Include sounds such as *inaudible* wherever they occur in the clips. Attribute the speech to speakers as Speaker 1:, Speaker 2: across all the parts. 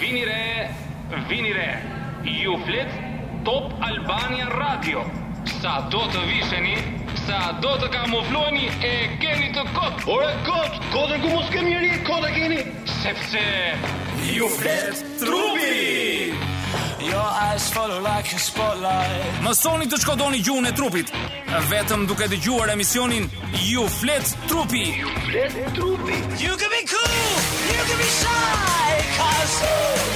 Speaker 1: Vini re, vini re. Ju flet Top Albania Radio. Sa do të visheni, sa do të kamufloheni e keni të kot,
Speaker 2: Ore kot, kodën ku mos kemi njëri, kod e keni.
Speaker 1: sepse
Speaker 3: Ju flet trupi Your eyes follow like a spotlight
Speaker 4: Mësoni të shkodoni gjuhën e trupit, vetëm duke dëgjuar emisionin Ju flet trupi.
Speaker 3: You can be cool, you can be shy Cause ooh,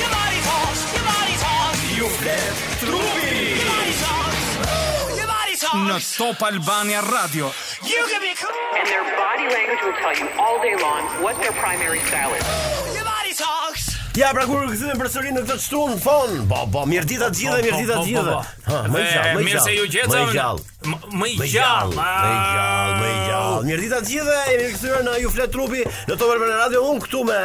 Speaker 3: your body talks, your body talks Ju flet trupi Your body talks, ooh, your body
Speaker 4: Në
Speaker 3: talks
Speaker 4: Top Albania Radio.
Speaker 3: You can be cool,
Speaker 5: And their body language will tell you all day long what their primary style is.
Speaker 3: your body talks
Speaker 2: Ja, pra kur kthyem përsëri në këtë shtun fon. Po, po, mirë dita të gjithëve, mirë dita të gjithëve. Ha, më i gjallë, më i gjallë.
Speaker 4: Mirë se ju gjeta.
Speaker 2: Më i gjallë.
Speaker 4: M- Më i
Speaker 2: Më i gjallë,
Speaker 4: gjallë.
Speaker 2: më i gjallë, më i gjallë. Mirë dita të gjithëve, jemi rikthyer në Ju flet trupi në Top Albana Radio. Un këtu me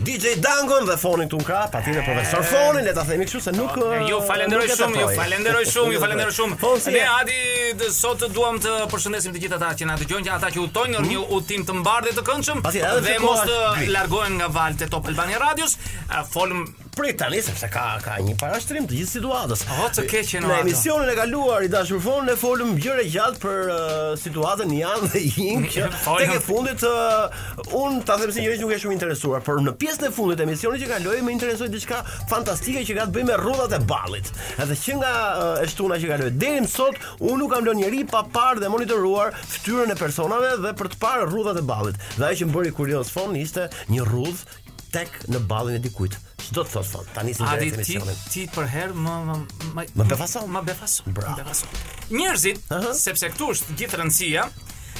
Speaker 2: DJ Dangon dhe fonin këtu në krah, pati me profesor Fonin, le ta themi kështu se nuk
Speaker 4: E, Ju Jo, falenderoj
Speaker 2: nuk e
Speaker 4: shumë, ju
Speaker 2: tepoj.
Speaker 4: falenderoj shumë, ju falenderoj shumë.
Speaker 2: Fon, si
Speaker 4: Ne
Speaker 2: je?
Speaker 4: Adi d- sot duam të përshëndesim të gjithë ata që na dëgjojnë, që ata që udhtojnë në një udhtim të mbarë dhe të këndshëm
Speaker 2: Mhm. Pasi, edhe
Speaker 4: dhe
Speaker 2: pse
Speaker 4: mos
Speaker 2: koha
Speaker 4: të
Speaker 2: është gri.
Speaker 4: largohen nga valët e Top Albania Radios. A, Folëm
Speaker 2: Prit tani sepse ka ka një parashtrim të gjithë situatës.
Speaker 4: O, të keqen, o,
Speaker 2: Në
Speaker 4: ato.
Speaker 2: emisionin e kaluar i dashur fon ne folëm gjëra gjatë për uh, situatën Jan dhe Yin që
Speaker 4: *laughs* Folëm.
Speaker 2: tek e fundit uh, un ta them si njëri që nuk e shumë interesuar, por në pjesën e fundit të emisionit që kaloi më interesoi diçka fantastike që ka të bëjë me rrodhat e ballit. Edhe që nga uh, e shtuna që kaloi deri më sot un nuk kam lënë njerëj pa parë dhe monitoruar fytyrën e personave dhe për të parë rrodhat e ballit. Dhe ajo që më bëri kurioz fon ishte një rrudh tek në ballin e dikujt. Ç'do të thotë fon? Tani si
Speaker 4: Adi
Speaker 2: nxjerrë
Speaker 4: ti
Speaker 2: emisionin.
Speaker 4: ti për herë më më më
Speaker 2: Më befason.
Speaker 4: Më befason.
Speaker 2: Bravo.
Speaker 4: Më befason. Njerëzit,
Speaker 2: Aha.
Speaker 4: sepse këtu është gjithë rëndësia,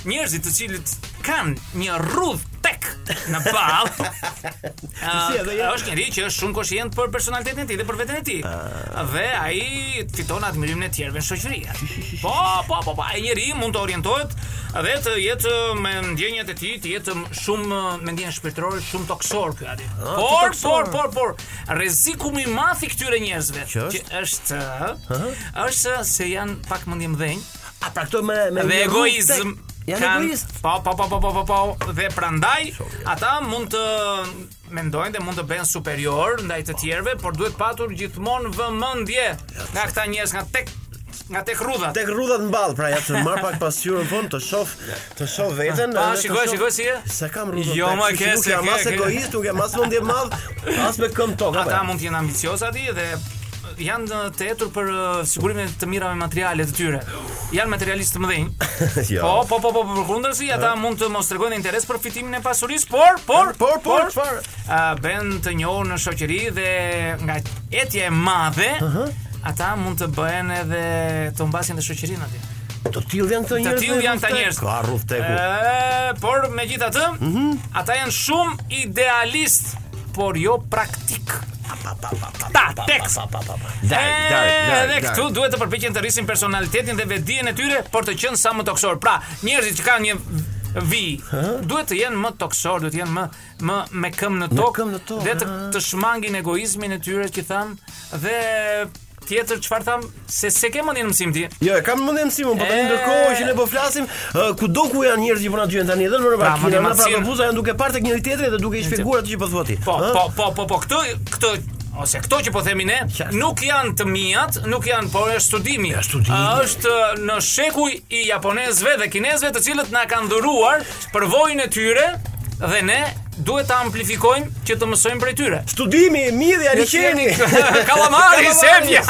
Speaker 4: njerëzit të cilët kanë një rrudh tek në ball.
Speaker 2: *laughs* Si edhe ja.
Speaker 4: është njëri që është shumë koshient për personalitetin e tij dhe për veten e tij.
Speaker 2: Ah.
Speaker 4: Dhe ai fiton admirimin e tjerëve në shoqëri. Po, po, po, po, ai njeriu mund të orientohet dhe të jetë me ndjenjat e tij, të jetë shumë me ndjenjë shpirtërore, shumë toksor ky Adi. Por,
Speaker 2: Ah, toksor.
Speaker 4: por, por, por, por rreziku më i madh i këtyre njerëzve
Speaker 2: Që është?
Speaker 4: është ë, është se janë pak mendje mdhenj
Speaker 2: A pra këto me me
Speaker 4: dhe
Speaker 2: me
Speaker 4: egoizëm.
Speaker 2: rrugë tek- Janë
Speaker 4: kanë-
Speaker 2: egoist.
Speaker 4: Po, po, po, po, po, po, po, dhe prandaj ata mund të mendojnë dhe mund të bëhen superior ndaj të tjerëve, por duhet patur gjithmonë vëmendje nga këta njerëz nga tek nga tek rrudha.
Speaker 2: Tek rrudhat në ballë, pra ja të marr pak pasqyrën fon të shoh të shoh veten.
Speaker 4: Pa,
Speaker 2: edhe të
Speaker 4: shikoj,
Speaker 2: shoh-
Speaker 4: shikoj si je.
Speaker 2: Se kam rrudhat.
Speaker 4: Jo,
Speaker 2: tek,
Speaker 4: ma
Speaker 2: kështu që
Speaker 4: ke,
Speaker 2: nuk
Speaker 4: se
Speaker 2: jam
Speaker 4: ke,
Speaker 2: as
Speaker 4: ke.
Speaker 2: egoist, nuk jam as mendje madh, as me këmbë tokë.
Speaker 4: Ata
Speaker 2: apo.
Speaker 4: mund të jenë ambicioz aty dhe janë të etur për uh, sigurimin e të mirave materiale të tyre. Janë materialistë të mëdhenj.
Speaker 2: *laughs* Jo.
Speaker 4: Po, po, po, po, për kundërsi, ata mund të mos tregojnë interes për fitimin e pasurisë, por, por,
Speaker 2: Por, por, çfarë?
Speaker 4: a, bën të njohur në shoqëri dhe nga etja e madhe, ata mund të bëhen edhe të mbasin dhe shoqërinë aty.
Speaker 2: Të tillë janë këto
Speaker 4: Të
Speaker 2: njerëz.
Speaker 4: tillë
Speaker 2: në
Speaker 4: janë këta
Speaker 2: rrudhtek?
Speaker 4: njerëz. Eh,
Speaker 2: Ka rrudhteku.
Speaker 4: Ë, por megjithatë, ata janë shumë idealist, por jo praktik. Ta tekst.
Speaker 2: Pa, pa, pa, pa. Dark,
Speaker 4: E,
Speaker 2: dark, dark.
Speaker 4: Edhe Eh, këtu duhet të përpiqen të rrisin personalitetin dhe vetdijen e tyre, por të qenë sa më toksor. Pra, njerëzit që kanë një vi, duhet të jenë më toksor, duhet të jenë më më me këmbë në tokë
Speaker 2: këmbë në tokë,
Speaker 4: dhe të,
Speaker 2: ha.
Speaker 4: të shmangin egoizmin e tyre që tham dhe tjetër çfarë tham se se ke mendin në mësim ti.
Speaker 2: Jo, e kam mendje mësimon, po tani
Speaker 4: E.
Speaker 2: ndërkohë që ne po flasim, ë, kudo ku janë njerëz që po na dëgjojnë tani, edhe në
Speaker 4: Pra,
Speaker 2: Barbakë, në
Speaker 4: motivacin-
Speaker 2: Barbakë, janë duke parë tek njëri tjetri dhe duke i shpjeguar atë që po thua ti.
Speaker 4: Po,
Speaker 2: Ë?
Speaker 4: po, po, po, po, këto këto ose këto që po themi ne
Speaker 2: Qartë.
Speaker 4: nuk janë të mijat, nuk janë por është studimi.
Speaker 2: Është studimi.
Speaker 4: A, Është në shekuj i japonezëve dhe kinezëve të cilët na kanë dhuruar përvojën e tyre dhe ne duhet ta amplifikojmë që të mësojmë prej tyre.
Speaker 2: Studimi i midhja liçeni.
Speaker 4: *laughs* Kalamari, sepja.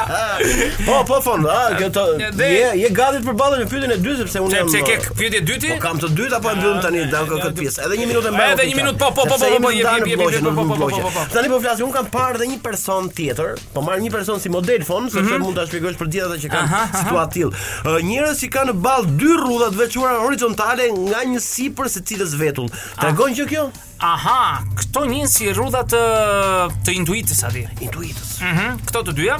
Speaker 2: *laughs* Po, po fon, a, këto
Speaker 4: Dhe-
Speaker 2: je je gati për ballën në pyetjen e dytë sepse unë jam.
Speaker 4: Sepse ke pyetje dyti?
Speaker 2: Po kam të dytë apo e mbyllim tani
Speaker 4: e,
Speaker 2: danko
Speaker 4: e,
Speaker 2: këtë
Speaker 4: e,
Speaker 2: pjesë. Edhe një minutë e mbaj.
Speaker 4: Edhe një minutë, po, po, po, po, po, po, jep, jep, jep, jep, po, po, po, po, po, po.
Speaker 2: Tani po flasim, un kam parë edhe një person tjetër, po marr një person si model fon, sepse mund ta shpjegosh për gjithë ata që kanë
Speaker 4: Aha, aha.
Speaker 2: situatë tillë. Ë, Njerëz që kanë në ball dy rrudha të veçuara horizontale nga një sipër secilës vetull. Tregon që kjo
Speaker 4: Aha, këto njën si rrudha të të intuitës aty.
Speaker 2: intuitës.
Speaker 4: Mhm, këto të dyja.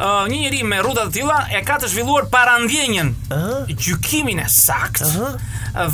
Speaker 4: Ë, një njeri me rruda të tilla e ka të zhvilluar parandjenjen, gjykimin e saktë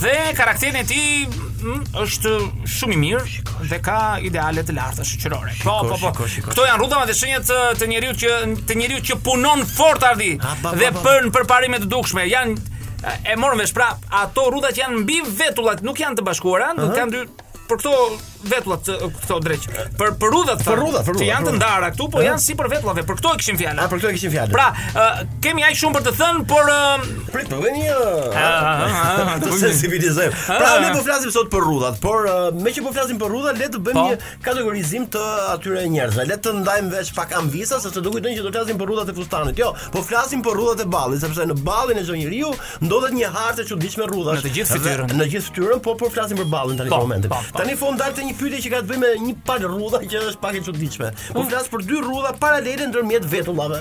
Speaker 4: dhe karakteri i tij mm, është shumë i mirë dhe ka ideale të larta shoqërore. Po, po, po.
Speaker 2: shiko, shiko.
Speaker 4: Këto janë rrudat dhe shenjat të, të njeriu që të njeriu që punon fort ardi
Speaker 2: A, ba, ba,
Speaker 4: dhe
Speaker 2: ba.
Speaker 4: për në përparime të dukshme janë e morën vesh pra ato rrudat që janë mbi vetullat nuk janë të bashkuara, do të kanë dy për këto vetullat të- këto dreq. Për për rrudhat.
Speaker 2: Për rrudhat, për
Speaker 4: Që
Speaker 2: rrudhat,
Speaker 4: janë të
Speaker 2: për
Speaker 4: ndara këtu, po
Speaker 2: Ëh.
Speaker 4: janë si për vetullave. Për këto e kishim
Speaker 2: A
Speaker 4: fjalën.
Speaker 2: për këto e kishin fjalë.
Speaker 4: Pra, ë, kemi aq shumë për të thënë, por ë,
Speaker 2: prit po vjen një
Speaker 4: *laughs* ah, ah,
Speaker 2: të
Speaker 4: të bëjmë-
Speaker 2: sensibilizojmë. Pra ne po flasim sot për rrudhat, por uh, me që po flasim për rrudha, le të bëjmë
Speaker 4: Po.
Speaker 2: një kategorizim të atyre njerëzve. Le të ndajmë veç pak ambisa, sepse do kujtojnë që do flasim për rrudhat e fustanit. Jo, po flasim për rrudhat e ballit, sepse në ballin e çdo njeriu ndodhet një hartë e çuditshme rrudhash.
Speaker 4: Në të gjithë fytyrën.
Speaker 2: Dhe- Në gjithë fytyrën, po po flasim për ballin tani
Speaker 4: Po,
Speaker 2: për momentin.
Speaker 4: po, po.
Speaker 2: Tani fon dalë të një pyetje që ka të bëjë me një palë rrudha që është pak e çuditshme. Po flas për dy rrudha paralele ndërmjet vetullave.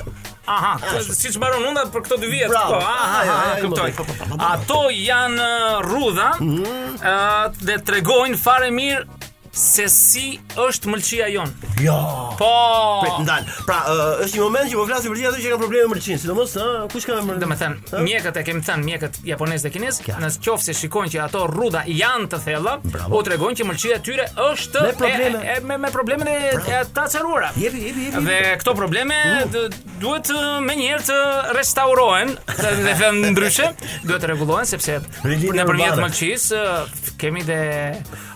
Speaker 4: aha, të- siç mbaron unda për këto dy vjet.
Speaker 2: Bravo.
Speaker 4: Po, aha,
Speaker 2: Ai, ai,
Speaker 4: aha,
Speaker 2: ai,
Speaker 4: kuptoj.
Speaker 2: po, po, po, po, po.
Speaker 4: Ato janë ë, rrudha, ë, dhe tregojnë fare mirë se si është mëlçia jon.
Speaker 2: Jo.
Speaker 4: Po.
Speaker 2: Prit ndal. Pra, ë, është një moment që po flasim për gjithë ato që kanë probleme me mërçin, sidomos ë, kush ka me mërçin?
Speaker 4: Do me thënë, mjekët e kemi thënë, mjekët japonez dhe kinez,
Speaker 2: Kja.
Speaker 4: në qoftë se shikojnë që ato rruda janë të thella,
Speaker 2: Bravo.
Speaker 4: u tregojnë që mëlçia e tyre është
Speaker 2: Me probleme.
Speaker 4: e, e, me, me problemin e, e ta çaruara.
Speaker 2: Jepi, jepi, jepi.
Speaker 4: Dhe këto probleme dë- duhet ë, me njëherë të restaurohen dhe, dhe them ndryshe, duhet të rregullohen sepse
Speaker 2: Rilinja
Speaker 4: në përmjet
Speaker 2: urbane.
Speaker 4: mëlçisë ë, kemi dhe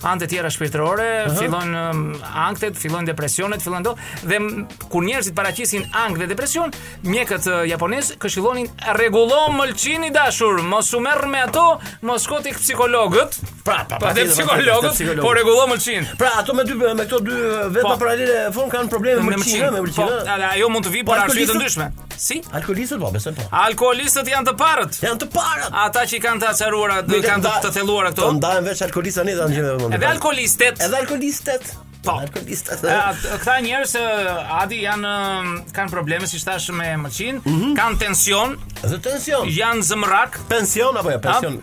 Speaker 4: anë të tjera shpirtërore, fillojnë ëm, anktet, fillojnë depresionet, fillojnë do dhe m- kur njerëzit paraqisin ankth dhe depresion, mjekët ë, japonesë këshillonin rregullo mëlçin i dashur, mos u merr me ato, mos shko tek psikologët.
Speaker 2: Pra, pa,
Speaker 4: Pa
Speaker 2: patjetër,
Speaker 4: Po, dhe
Speaker 2: patjetër,
Speaker 4: psikologët,
Speaker 2: psikologët.
Speaker 4: po rregullo mëlçin.
Speaker 2: Pra, ato me dy me këto dy vetë
Speaker 4: Po.
Speaker 2: paralele fon kanë probleme me mërçin, me
Speaker 4: Po,
Speaker 2: mërçin. ë.
Speaker 4: ala, ajo mund të vi
Speaker 2: Po,
Speaker 4: për arsye të
Speaker 2: alkoholistët?
Speaker 4: ndryshme. Si?
Speaker 2: Alkoholistët po, besoj po.
Speaker 4: Alkoholistët janë të parët.
Speaker 2: Janë të parat.
Speaker 4: Ata që i kanë të acaruara,
Speaker 2: Mi
Speaker 4: kanë të,
Speaker 2: nda-
Speaker 4: të thelluara këto.
Speaker 2: Po ndahen veç alkoholistët tani tani që mund.
Speaker 4: Edhe alkoholistët.
Speaker 2: Edhe alkoholistët.
Speaker 4: Po.
Speaker 2: alkoholistët.
Speaker 4: e, at- Këta njerëz e, Adi janë e, kanë probleme si thash me mëqin,
Speaker 2: Mhm.
Speaker 4: kanë tension,
Speaker 2: Dhe tension.
Speaker 4: janë zëmrak,
Speaker 2: Pension apo jo, pension.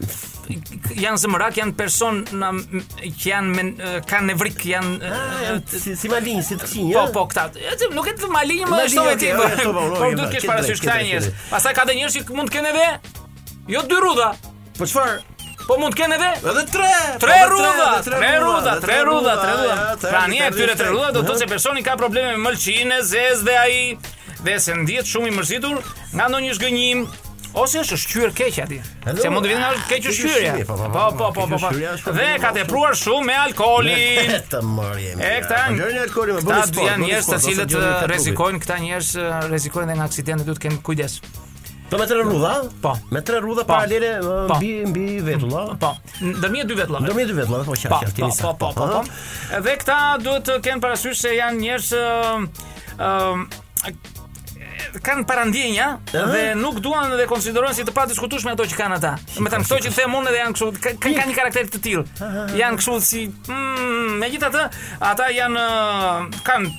Speaker 4: janë zëmrak, janë persona m- që janë men- e, kanë nevrik, janë e,
Speaker 2: Ah, janë Si si malinj, si të qinj.
Speaker 4: Po,
Speaker 2: ë?
Speaker 4: po, këta. e, ti- Nuk e të malinjë më
Speaker 2: Malinjë,
Speaker 4: ashtu e ti.
Speaker 2: okay,
Speaker 4: po,
Speaker 2: okay, po, po, po,
Speaker 4: Por duhet
Speaker 2: po,
Speaker 4: kesh
Speaker 2: ke
Speaker 4: parasysh
Speaker 2: drejt,
Speaker 4: këta
Speaker 2: ke drejt,
Speaker 4: njerëz.
Speaker 2: ke drejt.
Speaker 4: Pastaj ka dhe njerëz që mund të kenë edhe jo dy rrudha,
Speaker 2: Po çfarë?
Speaker 4: po mund të kenë edhe
Speaker 2: Edhe tre. po,
Speaker 4: Tre
Speaker 2: edhe
Speaker 4: rrudha,
Speaker 2: edhe
Speaker 4: tre rrudha, tre rrudha, tre
Speaker 2: ja,
Speaker 4: rrudha.
Speaker 2: tre,
Speaker 4: Pra një e këtyre tre rrudha do të
Speaker 2: Ëh.
Speaker 4: thotë se personi ka probleme me mëlçinë, zezë dhe ai dhe se ndihet shumë i mërzitur nga ndonjë zgënjim ose është shqyr keq aty.
Speaker 2: Edhe
Speaker 4: Se mund të vinë nga
Speaker 2: unë, a,
Speaker 4: keq
Speaker 2: keq ushqyerje,
Speaker 4: ushqyerja. Po po po po.
Speaker 2: keq
Speaker 4: po.
Speaker 2: ushqyerja është
Speaker 4: Dhe
Speaker 2: problem,
Speaker 4: ka
Speaker 2: po,
Speaker 4: tepruar shumë me alkoolin.
Speaker 2: Të mërë jemi.
Speaker 4: E këta
Speaker 2: janë. Gjërni alkoholin me
Speaker 4: këta
Speaker 2: bëni sport.
Speaker 4: janë
Speaker 2: bëni
Speaker 4: njerëz të
Speaker 2: sport, ose
Speaker 4: cilët
Speaker 2: gjërni
Speaker 4: eh,
Speaker 2: të trupit.
Speaker 4: rrezikojnë, këta njerëz eh, rrezikojnë edhe nga aksidente, duhet të kenë kujdes.
Speaker 2: Po me tre rrudha?
Speaker 4: Po.
Speaker 2: Me tre rrudha
Speaker 4: Po.
Speaker 2: paralele ë,
Speaker 4: Po.
Speaker 2: mbi mbi vetulla.
Speaker 4: Po, ndërmjet dy vetë
Speaker 2: Ndërmjet dy vetullave, po
Speaker 4: Po,
Speaker 2: qartë, qartë
Speaker 4: po,
Speaker 2: jemi sa.
Speaker 4: po, po, po, po. Dhe këta duhet të kenë parasysh se janë njerëz ë ë, kanë parandjenja dhe nuk duan dhe konsiderojnë si të padiskutueshme ato që kanë ata. Me thënë këto që them unë dhe janë kështu ka- ka- kanë një karakter të tillë. Janë kështu si mm, megjithatë ata janë ë, kanë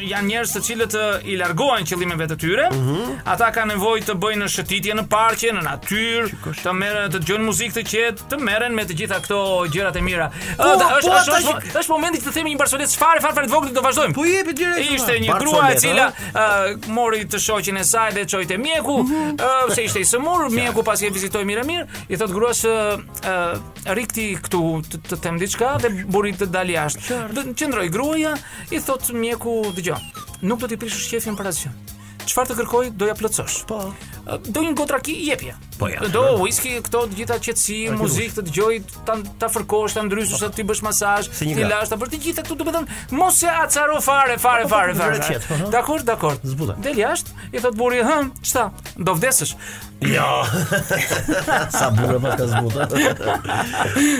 Speaker 4: janë njerëz të cilët ë, i largohen qëllimeve të tyre.
Speaker 2: Mhm.
Speaker 4: Ata kanë nevojë të bëjnë shëtitje në parqe, në natyrë, të merren të dëgjojnë muzikë të qetë, të merren me të gjitha këto gjërat e mira. Ë, da- është
Speaker 2: po,
Speaker 4: është
Speaker 2: ata
Speaker 4: është,
Speaker 2: që-
Speaker 4: është momenti të themi një barsolet çfarë fare fare të vogël do vazhdojmë.
Speaker 2: Po jepi direkt.
Speaker 4: Ishte një
Speaker 2: Barsolet,
Speaker 4: grua e cila
Speaker 2: ëh.
Speaker 4: ë, mori të shoqin e saj dhe çoi te mjeku, ë, se ishte i sëmur, mjeku pasi e vizitoi mirë e mirë, i thot gruas ë, ë, rikti këtu të, të them diçka dhe burri të dal jashtë. Dhe Qëndroi gruaja, i thot mjeku, dëgjoj, nuk do t'i prishësh shefin për asgjë. Çfarë të kërkoj, do ja plotësosh.
Speaker 2: Po.
Speaker 4: Ë, Do një gotraki jepje.
Speaker 2: Po, ja.
Speaker 4: Do whisky, këto të gjitha qetësi, muzikë të dëgjoj, ta ta fërkosh, ta ndryshësh, ti bësh masazh,
Speaker 2: një
Speaker 4: ti
Speaker 2: gra.
Speaker 4: lash ta bësh të gjitha këtu domethënë mos se acaro fare, fare, fare,
Speaker 2: po,
Speaker 4: fare.
Speaker 2: vërtet qetë, po,
Speaker 4: fare.
Speaker 2: ha.
Speaker 4: Dakor, dakor.
Speaker 2: Zbuta.
Speaker 4: Del jashtë, i thot burri, hë, çta? Do vdesësh. *laughs*
Speaker 2: Jo. Sa burë pas ka zbuta.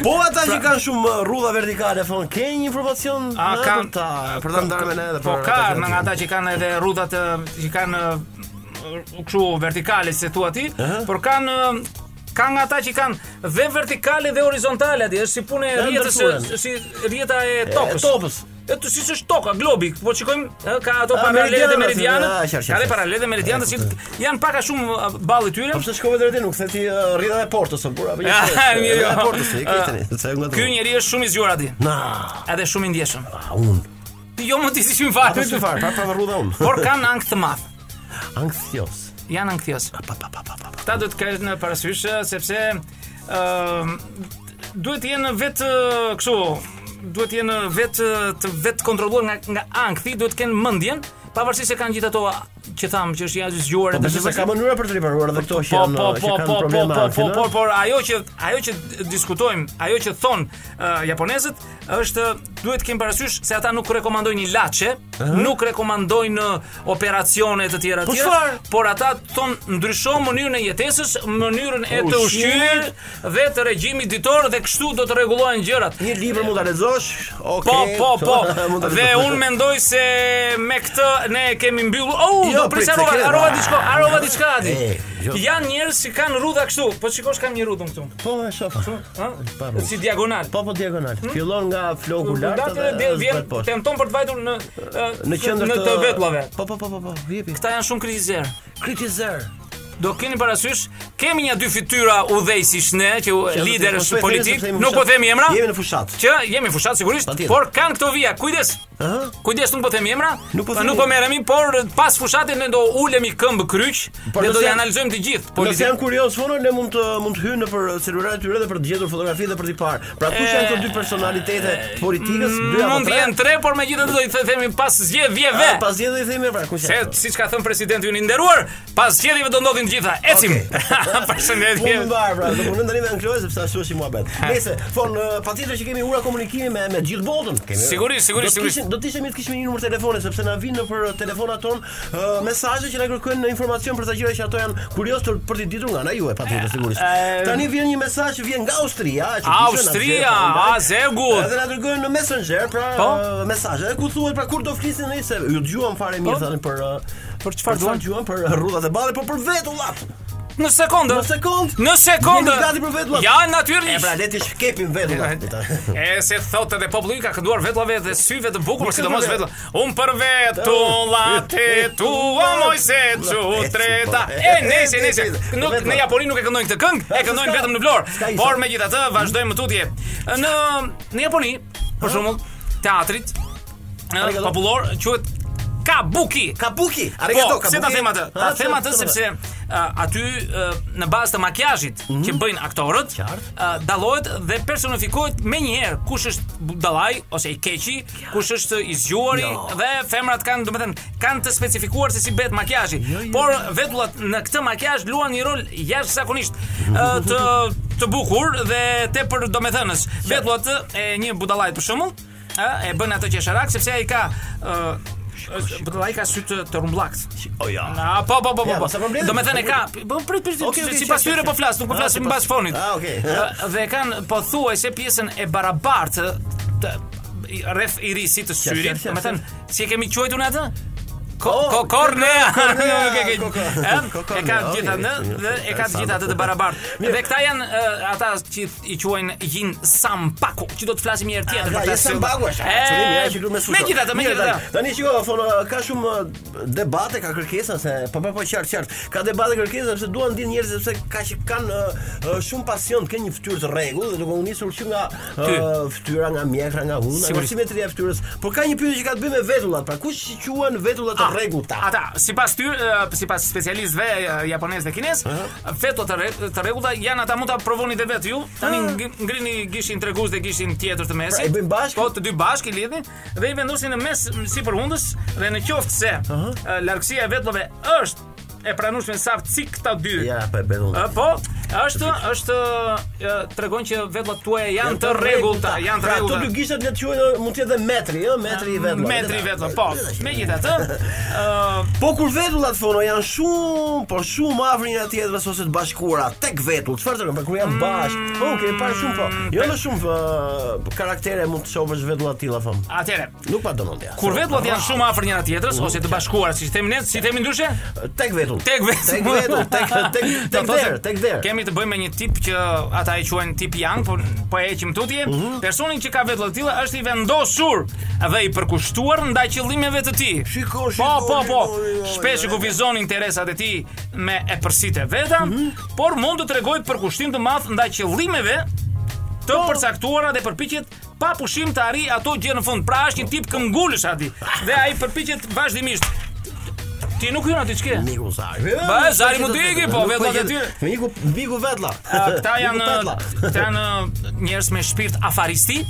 Speaker 2: Po ata që kanë shumë
Speaker 4: eh,
Speaker 2: rrudha vertikale, thon, ke një informacion
Speaker 4: A
Speaker 2: na,
Speaker 4: kanë
Speaker 2: për ta për ta ndarë me ne edhe
Speaker 4: Po
Speaker 2: për
Speaker 4: ka
Speaker 2: ata që
Speaker 4: nga ata që kanë edhe rrudhat e, që kanë e, kështu vertikale se thua ti, por kanë e, ka nga ata që kanë dhe vertikale dhe horizontale aty, është si punë e
Speaker 2: Dhe
Speaker 4: rrjetës
Speaker 2: ndërturen.
Speaker 4: e- si rrjeta e tokës.
Speaker 2: E, topës.
Speaker 4: E të siç është toka, globi, po shikojmë e, ka ato
Speaker 2: A,
Speaker 4: paralele dhe
Speaker 2: meridianat,
Speaker 4: meridianët,
Speaker 2: a, qartë,
Speaker 4: ka
Speaker 2: qartë.
Speaker 4: dhe paralele dhe meridianët
Speaker 2: E,
Speaker 4: që
Speaker 2: kuptoj.
Speaker 4: janë pak a shumë e, balli tyre.
Speaker 2: Po pse shkove deri te nuk se ti ë, rrjedha e portës apo
Speaker 4: *laughs*
Speaker 2: apo një.
Speaker 4: Ja, mirë,
Speaker 2: Rrjedha
Speaker 4: jo.
Speaker 2: e portës, e ke tani. Sa u
Speaker 4: Ky njeri është shumë i zgjuar aty,
Speaker 2: Na,
Speaker 4: edhe shumë i ndjeshëm.
Speaker 2: a un.
Speaker 4: Jo mund të ishin fare.
Speaker 2: Po çfarë? Pra pra rrudha un.
Speaker 4: Por kanë ankth të madh.
Speaker 2: Ankthjos.
Speaker 4: Janë ankthjos.
Speaker 2: Pa pa pa pa pa. pa.
Speaker 4: Këta duhet të kenë parasysh ë, sepse ëm duhet të jenë vetë ë, kështu duhet të jenë vetë ë, të vetë kontrolluar nga nga ankthi, duhet të kenë mendjen pavarësisht se kanë gjithë ato që tham që është jashtë zgjuar
Speaker 2: Po besoj se ka mënyra për të riparuar edhe këto që janë
Speaker 4: po,
Speaker 2: që
Speaker 4: po,
Speaker 2: kanë
Speaker 4: po,
Speaker 2: problema
Speaker 4: po, po,
Speaker 2: financë.
Speaker 4: po, por ajo që ajo që diskutojmë, ajo që thon uh, japonezët është duhet të kemi parasysh se ata nuk rekomandojnë ilaçe, nuk rekomandojnë uh, operacione të tjera të
Speaker 2: Po
Speaker 4: tjera,
Speaker 2: çfarë?
Speaker 4: por ata thon ndryshon mënyrën e jetesës, mënyrën e
Speaker 2: Ushqimit.
Speaker 4: të ushqyer dhe të regjimit ditor dhe kështu do të rregullohen gjërat.
Speaker 2: Një libër mund ta lexosh. Okej.
Speaker 4: Po, po,
Speaker 2: *laughs* mund
Speaker 4: po.
Speaker 2: ta
Speaker 4: Dhe
Speaker 2: lexosh.
Speaker 4: unë mendoj se me këtë ne kemi mbyllur. Oh,
Speaker 2: Jo,
Speaker 4: do pres
Speaker 2: prit, se
Speaker 4: harova,
Speaker 2: kena.
Speaker 4: harova diçka, harova diçka aty.
Speaker 2: E, jo.
Speaker 4: Jan njerëz që kanë rrudha kështu. Po shikosh kam një rrudhë unë këtu.
Speaker 2: Po, e shoh. Pa
Speaker 4: Ëh?
Speaker 2: rrudhë.
Speaker 4: Si diagonal.
Speaker 2: Po, po diagonal.
Speaker 4: Hmm?
Speaker 2: Fillon nga floku lart
Speaker 4: Kulturata
Speaker 2: dhe
Speaker 4: dhe vjen
Speaker 2: zbret poshtë.
Speaker 4: tenton për të vajtur në
Speaker 2: Në qendër
Speaker 4: në të vetullave.
Speaker 2: Po, po, po, po, po. Jepi.
Speaker 4: Këta janë shumë kritizer.
Speaker 2: Kritizer.
Speaker 4: Do keni parasysh, kemi një dy fytyra udhëheqësish ne që
Speaker 2: do
Speaker 4: lider
Speaker 2: t'jemi- po,
Speaker 4: është
Speaker 2: po,
Speaker 4: politik,
Speaker 2: po, jemi në
Speaker 4: nuk po
Speaker 2: fushat.
Speaker 4: themi emra.
Speaker 2: Jemi në fushat.
Speaker 4: Që jemi në fushat sigurisht,
Speaker 2: Patjetër.
Speaker 4: por kanë këto vija. Kujdes.
Speaker 2: Ëh?
Speaker 4: Kujdes nuk po them emra,
Speaker 2: Nuk po
Speaker 4: pa-
Speaker 2: themi.
Speaker 4: nuk po merremi, por pas fushatit ne do ulemi këmbë kryq
Speaker 2: Por
Speaker 4: dhe
Speaker 2: nëse
Speaker 4: do të
Speaker 2: janë-
Speaker 4: analizojmë të gjithë
Speaker 2: Po nëse
Speaker 4: politikën.
Speaker 2: janë kurioz fono, ne mund të mund të hyjnë nëpër celularat e tyre dhe për të gjetur fotografi dhe për t'i parë. Pra kush janë këto dy personalitete politikës, dy apo
Speaker 4: Mund të
Speaker 2: tre?
Speaker 4: jenë tre, por megjithatë do i the- themi pas
Speaker 2: Ah,
Speaker 4: zgjedhjeve.
Speaker 2: Pas dhe i themi pra kush
Speaker 4: Se
Speaker 2: janë.
Speaker 4: siç ka thënë presidenti unë i nderuar, pas zgjedhjeve do ndodhin të gjitha. Ecim.
Speaker 2: Punë
Speaker 4: *laughs* Përshëndetje.
Speaker 2: më mbar, pra, do punë ndani me Ankloe sepse ashtu është i muhabet. Nëse fon eh, patjetër që kemi ura komunikimi me me gjithë botën. Kemi.
Speaker 4: Sigurisht, sigurisht,
Speaker 2: Do të kishim- do të ishte mirë të kishim një numër telefoni sepse na vinë nëpër eh, telefonat ton eh, mesazhe që na kërkojnë informacion për sa gjëra që ato janë kurioz të- për të ditur nga na juve patjetër sigurisht.
Speaker 4: eh,
Speaker 2: Tani vjen një mesazh që vjen nga Austria, që
Speaker 4: Austria, a, se e gut.
Speaker 2: Edhe na dërgojnë në Messenger, pra
Speaker 4: Po?
Speaker 2: eh, mesazhe. Edhe ku thuhet pra kur do flisin ai se ju dëgjuam fare
Speaker 4: Po?
Speaker 2: mirë tani për eh,
Speaker 4: Për çfarë
Speaker 2: sa
Speaker 4: duan?
Speaker 2: dëgjuam për rrudhat e ballit, po për vetullat.
Speaker 4: Në sekondë.
Speaker 2: Në sekond.
Speaker 4: Në sekondë.
Speaker 2: Jemi gati për vetullat.
Speaker 4: Ja,
Speaker 2: E pra
Speaker 4: natyrisht.
Speaker 2: le të shkepim vetullat.
Speaker 4: E se thotë edhe populli ka kënduar vetlave dhe syve të bukur, por sidomos
Speaker 2: këndove.
Speaker 4: vetlla. Un për vetullat e tua moj se çu treta. E nese, nese. Nuk në Japoni nuk e këndojnë këtë këngë, e këndojnë vetëm në
Speaker 2: s'ka
Speaker 4: Vlorë.
Speaker 2: isa.
Speaker 4: Por megjithatë vazhdojmë më tutje. Në në Japoni, për shembull, teatrit ë,
Speaker 2: Arigato.
Speaker 4: popullor quhet Kabuki.
Speaker 2: *laughs* Kabuki,
Speaker 4: Po,
Speaker 2: arigato kabuki.
Speaker 4: se ta them atë. Ta
Speaker 2: Ha,
Speaker 4: them atë
Speaker 2: se-
Speaker 4: sepse uh, aty uh, në bazë të makijazhit që bëjnë aktorët,
Speaker 2: Qartë.
Speaker 4: uh, dallohet dhe personifikohet me njëherë kush është budallaj ose i keqi, kush është i zgjuari
Speaker 2: Jo.
Speaker 4: dhe femrat kanë, domethënë, kanë të specifikuar se si bëhet makijazhi.
Speaker 2: jo.
Speaker 4: Por vetullat në këtë makijazh luan një rol jashtëzakonisht uh, të të bukur dhe tepër domethënës. Vetullat uh, e një budallaj për shembull, uh, e bën atë që është rak sepse ai ka uh, budallaj ka sy të, të rumbullakt.
Speaker 2: O ja.
Speaker 4: Na, po, po, po, po.
Speaker 2: Ja,
Speaker 4: po.
Speaker 2: mos e problem.
Speaker 4: Do me thënë e ka, po prit prit.
Speaker 2: Okej, okej,
Speaker 4: Sipas
Speaker 2: qef,
Speaker 4: tyre
Speaker 2: qef,
Speaker 4: po flas, nuk po
Speaker 2: qef.
Speaker 4: flas
Speaker 2: Ah,
Speaker 4: mbas
Speaker 2: sipas-
Speaker 4: fonit.
Speaker 2: Ah, okej.
Speaker 4: Ë, Dhe kanë pothuajse pjesën e barabartë të i- rreth i risi të
Speaker 2: qef,
Speaker 4: syrit.
Speaker 2: qef,
Speaker 4: Do me thënë, si e kemi quajtur ne atë? Ko-
Speaker 2: Oh,
Speaker 4: ko- Kornea. *laughs*
Speaker 2: kornea,
Speaker 4: Nuk e ke-
Speaker 2: ko- ko-
Speaker 4: Ë?
Speaker 2: ko-
Speaker 4: E ka
Speaker 2: kornea,
Speaker 4: gjithë atë
Speaker 2: okej,
Speaker 4: dhe e ka
Speaker 2: interesante.
Speaker 4: gjithë atë të barabartë. Dhe këta janë ë, ata që i quajnë Jin Sampaku, që do të flasim një herë tjetër
Speaker 2: Pra, Ah, Ja,
Speaker 4: për ta.
Speaker 2: jesë mbagu është.
Speaker 4: E,
Speaker 2: Çulim ja që lumë suço.
Speaker 4: Megjithatë, megjithatë.
Speaker 2: Tani shiko, thonë ka shumë eh, debate, ka kërkesa se po po po qartë qartë. Ka debate kërkesa sepse duan din njerëz sepse ka që kanë eh, eh, shumë pasion të kenë një fytyrë të rregull dhe duke u nisur që nga eh,
Speaker 4: Ty.
Speaker 2: fytyra nga mjekra, nga huna, nga
Speaker 4: Sigurisht.
Speaker 2: simetria e fytyrës. Por ka një pyetje që ka të bëjë me vetullat. Pra kush i quhen vetullat të rregullta?
Speaker 4: Ata, sipas ty, ë, sipas specialistëve ë, japonez dhe kinez, veto të rre- të rregullta janë ata mund ta provoni dhe vetë ju. Tani ngri- ngrini gishin tregus dhe gishin tjetër të mesit.
Speaker 2: Pra, i bëjnë bashkë?
Speaker 4: Po, të dy bashkë i lidhin dhe i vendosin në mes sipër hundës dhe në qoftë se ë, largësia e vetlave është e pranueshme saktë si këta dy.
Speaker 2: Ja, po e bën unë.
Speaker 4: Ë, Po, është është ë, tregon që vetllat tuaja janë të rregullta, janë të
Speaker 2: Pra,
Speaker 4: rregullta.
Speaker 2: Ato dy gishtat le të quhen mund të jetë edhe metri, ëh, metri i vetullat.
Speaker 4: Metri i vetllat, po. Megjithatë, ë
Speaker 2: Po kur vetullat fono janë shumë, po shumë afër njëra tjetrës ose të bashkuara tek vetull. Çfarë do të thonë kur janë bashkë? Po mm, okay, parë shumë po. Jo më shumë uh, karaktere mund të shohësh vetulla të tilla fam.
Speaker 4: atëre,
Speaker 2: Nuk pa domon ja.
Speaker 4: Kur vetullat janë shumë afër njëra tjetrës ose të bashkuara, siç themi ne, si themi ndryshe,
Speaker 2: tek vetull.
Speaker 4: tek vetë.
Speaker 2: Tek vetull,
Speaker 4: *laughs*
Speaker 2: tek tek
Speaker 4: Do
Speaker 2: tek
Speaker 4: thotë,
Speaker 2: der, tek der.
Speaker 4: Kemi të bëjmë me një tip që ata e quajnë tip yang, po po e heqim tutje.
Speaker 2: Mhm.
Speaker 4: Personi që ka vetull të tilla është i vendosur dhe i përkushtuar ndaj qëllimeve të tij.
Speaker 2: Shiko,
Speaker 4: Po,
Speaker 2: shiko,
Speaker 4: po, po.
Speaker 2: shiko, jo, jo,
Speaker 4: Shpesh
Speaker 2: jo, jo.
Speaker 4: kufizon interesat e tij me e përsitë veta,
Speaker 2: Mhm.
Speaker 4: por mund të tregoj përkushtim të madh ndaj qëllimeve të
Speaker 2: Po.
Speaker 4: përcaktuara dhe përpiqet pa pushim të arri ato gjë në fund. Pra është një tip këngulësh aty dhe ai përpiqet vazhdimisht. Ti nuk hyn aty çka?
Speaker 2: Miku Zari.
Speaker 4: Ba, Zari mu digi, po, vetullat e tyre.
Speaker 2: Miku, miku vetlla.
Speaker 4: Këta janë
Speaker 2: Miku tetlla.
Speaker 4: këta janë njerëz me shpirt afaristi,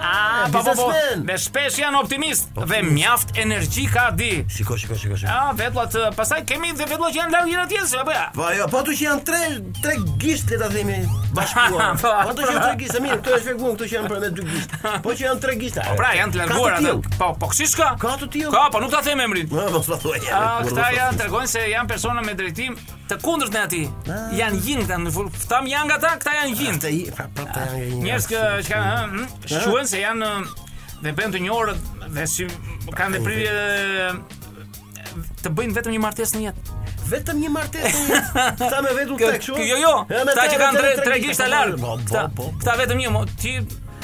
Speaker 4: Ah, po po po.
Speaker 2: biznesmen.
Speaker 4: Dhe shpesh janë optimist dhe mjaft energji ka di.
Speaker 2: Shiko, shiko, shiko, shiko.
Speaker 4: Ah, vetullat, eh, pastaj kemi dhe vetullat që janë larg njëra tjetrës, apo ja?
Speaker 2: Po ajo, po ato që janë tre tre gisht le ta themi bashkuar.
Speaker 4: *laughs* Po,
Speaker 2: po ato që janë tre gisht, e mirë, këto e shpjeguam, këto që janë për me dy gisht. Po që janë tre gishta.
Speaker 4: Po pra, janë të larguar atë. Po, po kush ka?
Speaker 2: Ka të tillë.
Speaker 4: Ka, po nuk ta them emrin.
Speaker 2: Po, mos ta thuaj.
Speaker 4: Ah, këta janë tregojnë se janë persona me drejtim të kundërt në atij. Janë yin këta, në fund këta janë nga ta, këta janë yin.
Speaker 2: Të i, pra, pra, pra,
Speaker 4: Ah, Njerëz që që kanë ëh, ëh, shquhen se janë ëh, dhe bën të njohurët dhe si kanë dhe prirje të bëjnë vetëm një martesë në jetë.
Speaker 2: vetëm një
Speaker 4: *laughs*
Speaker 2: martesë. Sa me vetull
Speaker 4: Kjo,
Speaker 2: tek kështu?
Speaker 4: kjo- jo, jo.
Speaker 2: Ja, me
Speaker 4: Këta që kanë tre
Speaker 2: vetëm
Speaker 4: tre gishta larg.
Speaker 2: Po, po,
Speaker 4: Këta
Speaker 2: po, po.
Speaker 4: këta vetëm një, mo- ti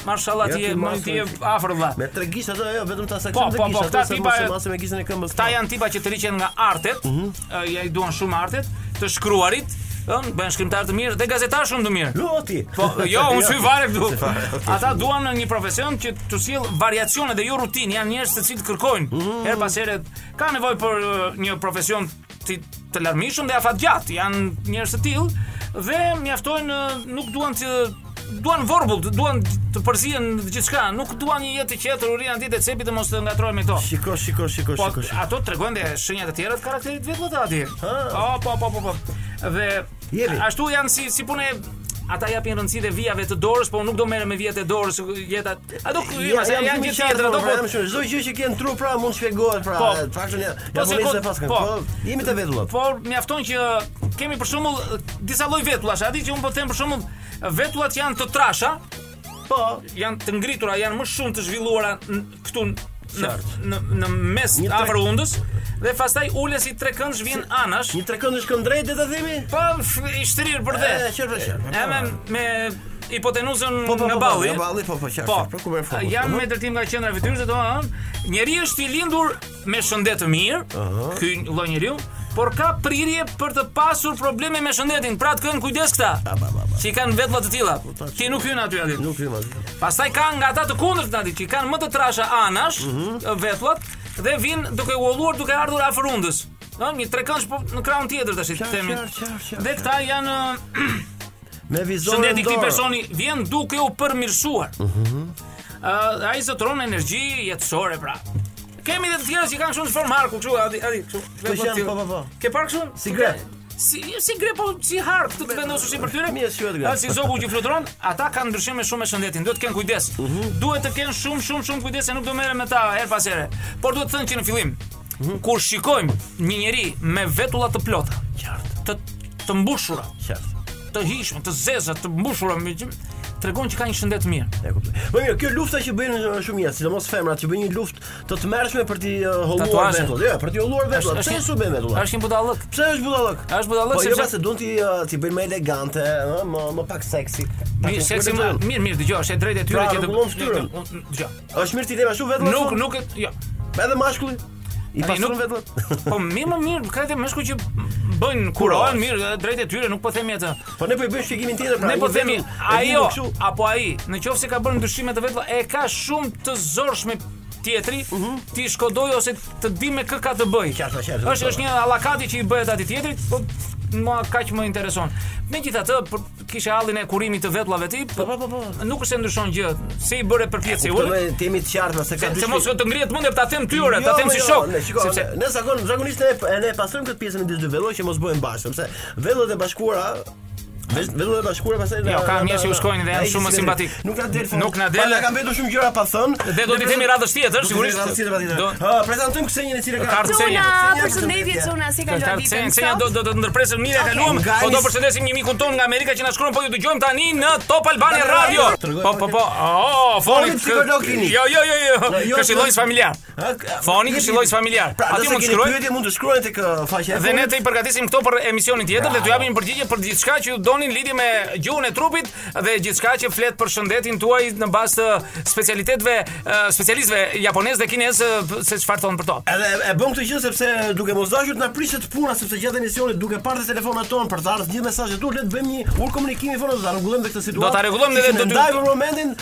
Speaker 4: mashallah
Speaker 2: Ja,
Speaker 4: ti je,
Speaker 2: ti
Speaker 4: mo-
Speaker 2: mas-
Speaker 4: ti je afër vëlla.
Speaker 2: Me tre gishta ato, jo, vetëm ta sa
Speaker 4: Po, po, po, këta tipa-
Speaker 2: masë me gishtin e këmbës. po.
Speaker 4: Këta janë tipa që të riqen nga artet,
Speaker 2: Mhm.
Speaker 4: ë, ja i duan shumë artet, të shkruarit, ëh, bëhen shkrimtar të mirë dhe gazetar shumë të mirë.
Speaker 2: Loti.
Speaker 4: Po, jo, unë
Speaker 2: *laughs*
Speaker 4: sy fare këtu.
Speaker 2: Si fare, okay.
Speaker 4: Ata duan një profesion që të sjell variacione dhe jo rutinë, janë njerëz të cilët kërkojnë her pas here ka nevojë për eh, një profesion të, të larmishëm dhe afatgjat. Janë njerëz të tillë dhe mjaftojnë eh, nuk duan të duan vorbull, duan të përzihen gjithçka, nuk duan një jetë të qetë, urina ditë e cepit të mos të ngatrohen me këto.
Speaker 2: Shiko, shiko, shiko,
Speaker 4: Po
Speaker 2: shiko. shiko.
Speaker 4: ato tregojnë dhe shenjat e tjera të karakterit vetë të atij. Po,
Speaker 2: Ah.
Speaker 4: po, po, po, po. Dhe
Speaker 2: Jepi.
Speaker 4: ashtu janë si si punë ata japin rëndësi dhe vijave të dorës, po unë nuk do merrem me vijat e dorës, jeta. Ato
Speaker 2: Ja,
Speaker 4: kryma jo, se
Speaker 2: jam
Speaker 4: janë
Speaker 2: shumë i
Speaker 4: gjithë
Speaker 2: qartë,
Speaker 4: tjetra,
Speaker 2: po.
Speaker 4: ato po.
Speaker 2: jam shumë- Çdo gjë që ke në tru pra mund shpjegohet pra.
Speaker 4: Po.
Speaker 2: e, Faktën ja.
Speaker 4: Po,
Speaker 2: Ja
Speaker 4: se
Speaker 2: po
Speaker 4: kot-
Speaker 2: nisë pas këngë.
Speaker 4: po.
Speaker 2: Po, jemi të vetullat.
Speaker 4: Po mjafton që kemi për shembull disa lloj vetullash, a di që un po them për shembull vetullat janë të trasha,
Speaker 2: Po.
Speaker 4: janë të ngritura, janë më shumë të zhvilluara n- këtu n- në
Speaker 2: Qartë.
Speaker 4: në, në mes
Speaker 2: Një tre-
Speaker 4: afër undës dhe pastaj ulen si trekëndsh vjen anash.
Speaker 2: Një trekëndësh këndrejt le ta themi?
Speaker 4: Po f- i shtrirë për dhe.
Speaker 2: E, qërë për qërë.
Speaker 4: E me, me hipotenuzën
Speaker 2: Po, po,
Speaker 4: nga
Speaker 2: po,
Speaker 4: balli.
Speaker 2: nga balli, po, po, qartë, qartë, po, ku merr fokus,
Speaker 4: janë
Speaker 2: po,
Speaker 4: me drejtim nga qendra e fytyrës, do të thonë, njeriu është i lindur me shëndet të mirë, ky lloj njeriu, por ka prirje për të pasur probleme me shëndetin. Pra të kënë kujdes këta.
Speaker 2: ba, ba, ba.
Speaker 4: Që i kanë vetlla të tilla. Ti nuk hyn aty aty.
Speaker 2: Nuk vim atë.
Speaker 4: Pastaj kanë nga ata të kundërt natit që i kanë më të trasha anash,
Speaker 2: Mhm.
Speaker 4: vetllat dhe vinë duke u olluar duke ardhur afër rundës. Ëh, një trekëndsh po në krahun tjetër tash i
Speaker 2: Qartë,
Speaker 4: themi.
Speaker 2: qartë, qartë, qartë,
Speaker 4: Dhe këta janë
Speaker 2: Me vizorën dorë. Mhm.
Speaker 4: Shëndeti këtij personi vjen duke u përmirësuar. Ëh, ai zotron energji jetësore pra. Kemi edhe të tjerë që kanë shumë formë harku kështu, aty aty kështu. vetëm
Speaker 2: janë,
Speaker 4: aty.
Speaker 2: po, po, po.
Speaker 4: Ke parë kështu?
Speaker 2: Si grep.
Speaker 4: Si si grep po si hark të të vendosur si për tyre?
Speaker 2: Mirë, si vetë grep.
Speaker 4: A, Si zogu që fluturon, ata kanë ndryshime shumë me shëndetin. Duhet të kenë kujdes.
Speaker 2: Mhm.
Speaker 4: Duhet të kenë shumë shumë shumë kujdes se nuk do merrem me ta her pas here. Por duhet të thënë që në fillim,
Speaker 2: Mhm.
Speaker 4: kur shikojmë një njeri me vetulla të plota,
Speaker 2: Qartë,
Speaker 4: të të mbushura,
Speaker 2: qartë.
Speaker 4: të hishme, të zeza, të mbushura me gjë, tregon që ka një shëndet mirë.
Speaker 2: E kuptoj. Po mirë, kjo lufta që bëjnë uh, shumë njerëz, sidomos femrat që bëjnë një luftë të tmerrshme për ti uh, holluar
Speaker 4: Tatuazhe.
Speaker 2: vetullat. Jo, për ti holluar vetullat. Pse është bën vetullat?
Speaker 4: Është një budallëk.
Speaker 2: Pse është budallëk?
Speaker 4: Është budallëk
Speaker 2: po,
Speaker 4: sepse-
Speaker 2: sepse se duan ti uh, ti bëjnë më elegante, ëh, më më pak seksi. Pak
Speaker 4: Mirë,
Speaker 2: më
Speaker 4: seksi më.
Speaker 2: kurrë.
Speaker 4: Mirë, mirë, dëgjoj, është e drejtë e tyre
Speaker 2: Pra,
Speaker 4: që
Speaker 2: rregullon fytyrën.
Speaker 4: të dëgjoj.
Speaker 2: Është mirë ti lema shumë vetullat.
Speaker 4: Nuk
Speaker 2: shumë?
Speaker 4: nuk e jo.
Speaker 2: edhe mashkulli. Pra, I
Speaker 4: Tani,
Speaker 2: pastron
Speaker 4: nuk-
Speaker 2: vetullat.
Speaker 4: Po mirë, më mirë, ka të mëshku që bëjnë kurohen mirë, e drejtë e tyre, nuk po themi atë.
Speaker 2: Po ne po i bëjmë shpjegimin tjetër pra.
Speaker 4: Ne po
Speaker 2: një
Speaker 4: themi
Speaker 2: vetull, e vini
Speaker 4: ajo
Speaker 2: kështu.
Speaker 4: apo ai, në qoftë se ka bërë ndryshime të vetë, e ka shumë të zorshme tjetri, ti shkodoj ose të di me kë ka të bëj.
Speaker 2: Mhm. Qartë, qartë,
Speaker 4: Është është një allakati që i bëhet atij tjetrit, po mua kaq më intereson. Megjithatë, për- kisha hallin e kurimit të vetullave ti, po
Speaker 2: po, po, po.
Speaker 4: nuk është se ndryshon gjë. Se i bëre përpjecje unë,
Speaker 2: Kuptoj, ti jemi të qartë se ka
Speaker 4: se-
Speaker 2: dy
Speaker 4: se mos
Speaker 2: shpjegime.
Speaker 4: të ngrihet mendja ta them ty ore, ta
Speaker 2: Jo,
Speaker 4: them
Speaker 2: po,
Speaker 4: si
Speaker 2: jo,
Speaker 4: shok,
Speaker 2: Ne shiko,
Speaker 4: sepse
Speaker 2: ne- ne zakon, zakonisht ne ne pastrojmë këtë pjesën e disë dy velloj që mos bëhen bashkë, sepse vellët e bashkuara Vetëm e bashkuara pastaj na-
Speaker 4: Jo, ka
Speaker 2: na-
Speaker 4: njerëz që u shkojnë dhe
Speaker 2: na-
Speaker 4: janë
Speaker 2: na-
Speaker 4: shumë
Speaker 2: na-
Speaker 4: simpatik.
Speaker 2: Nuk na del fort.
Speaker 4: Nuk na del.
Speaker 2: Pa, na kanë vetur shumë gjëra pa thënë.
Speaker 4: Dhe do t'i themi radhës tjetër, sigurisht.
Speaker 2: Do.
Speaker 4: Do-
Speaker 2: Ha, prezantojmë Ksenjën e cilë ka.
Speaker 4: Ka ardhur
Speaker 6: Cuna,
Speaker 4: Ksenja.
Speaker 6: përshëndetje Cuna, si
Speaker 4: Ka
Speaker 6: kaluan
Speaker 4: të
Speaker 6: ditën?
Speaker 4: sen, senja do do do të ndërpresim mirë e kaluam.
Speaker 2: guys.
Speaker 4: Po do përshëndesim një mikun ton nga Amerika që na shkruan, po ju dëgjojmë tani në Top Albania Radio.
Speaker 2: Tregoj
Speaker 4: Po po po. Oh, foni
Speaker 2: Foni psikolog klinik.
Speaker 4: Jo jo jo
Speaker 2: jo,
Speaker 4: jo. Këshillojës
Speaker 2: jo.
Speaker 4: familjar. Foni këshillojës familjar.
Speaker 2: Pra,
Speaker 4: Aty mund të
Speaker 2: shkruaj.
Speaker 4: shkruaj.
Speaker 2: mund të shkruajnë tek uh, faqja e
Speaker 4: Dhe ne
Speaker 2: fonit.
Speaker 4: të i përgatisim këto për emisionin tjetër dhe t'ju japim përgjigje për gjithçka që ju donin lidhje me gjuhën e trupit dhe gjithçka që flet për shëndetin tuaj në bazë të specialitetëve, eh, specialistëve japonezë dhe kinezë eh, se çfarë thon për to.
Speaker 2: Edhe e bëm këtë gjë sepse duke mos dashur të na prishet puna sepse gjatë emisionit duke parë të telefonat tonë për të ardhur gjithë mesazhet tu, le të bëjmë një ur komunikimi fono, ta rregullojmë dhe këtë situatë.
Speaker 4: ta rregullojmë dhe
Speaker 2: Sikur
Speaker 4: do
Speaker 2: ne
Speaker 4: t'ju-
Speaker 2: ndajmë për momentin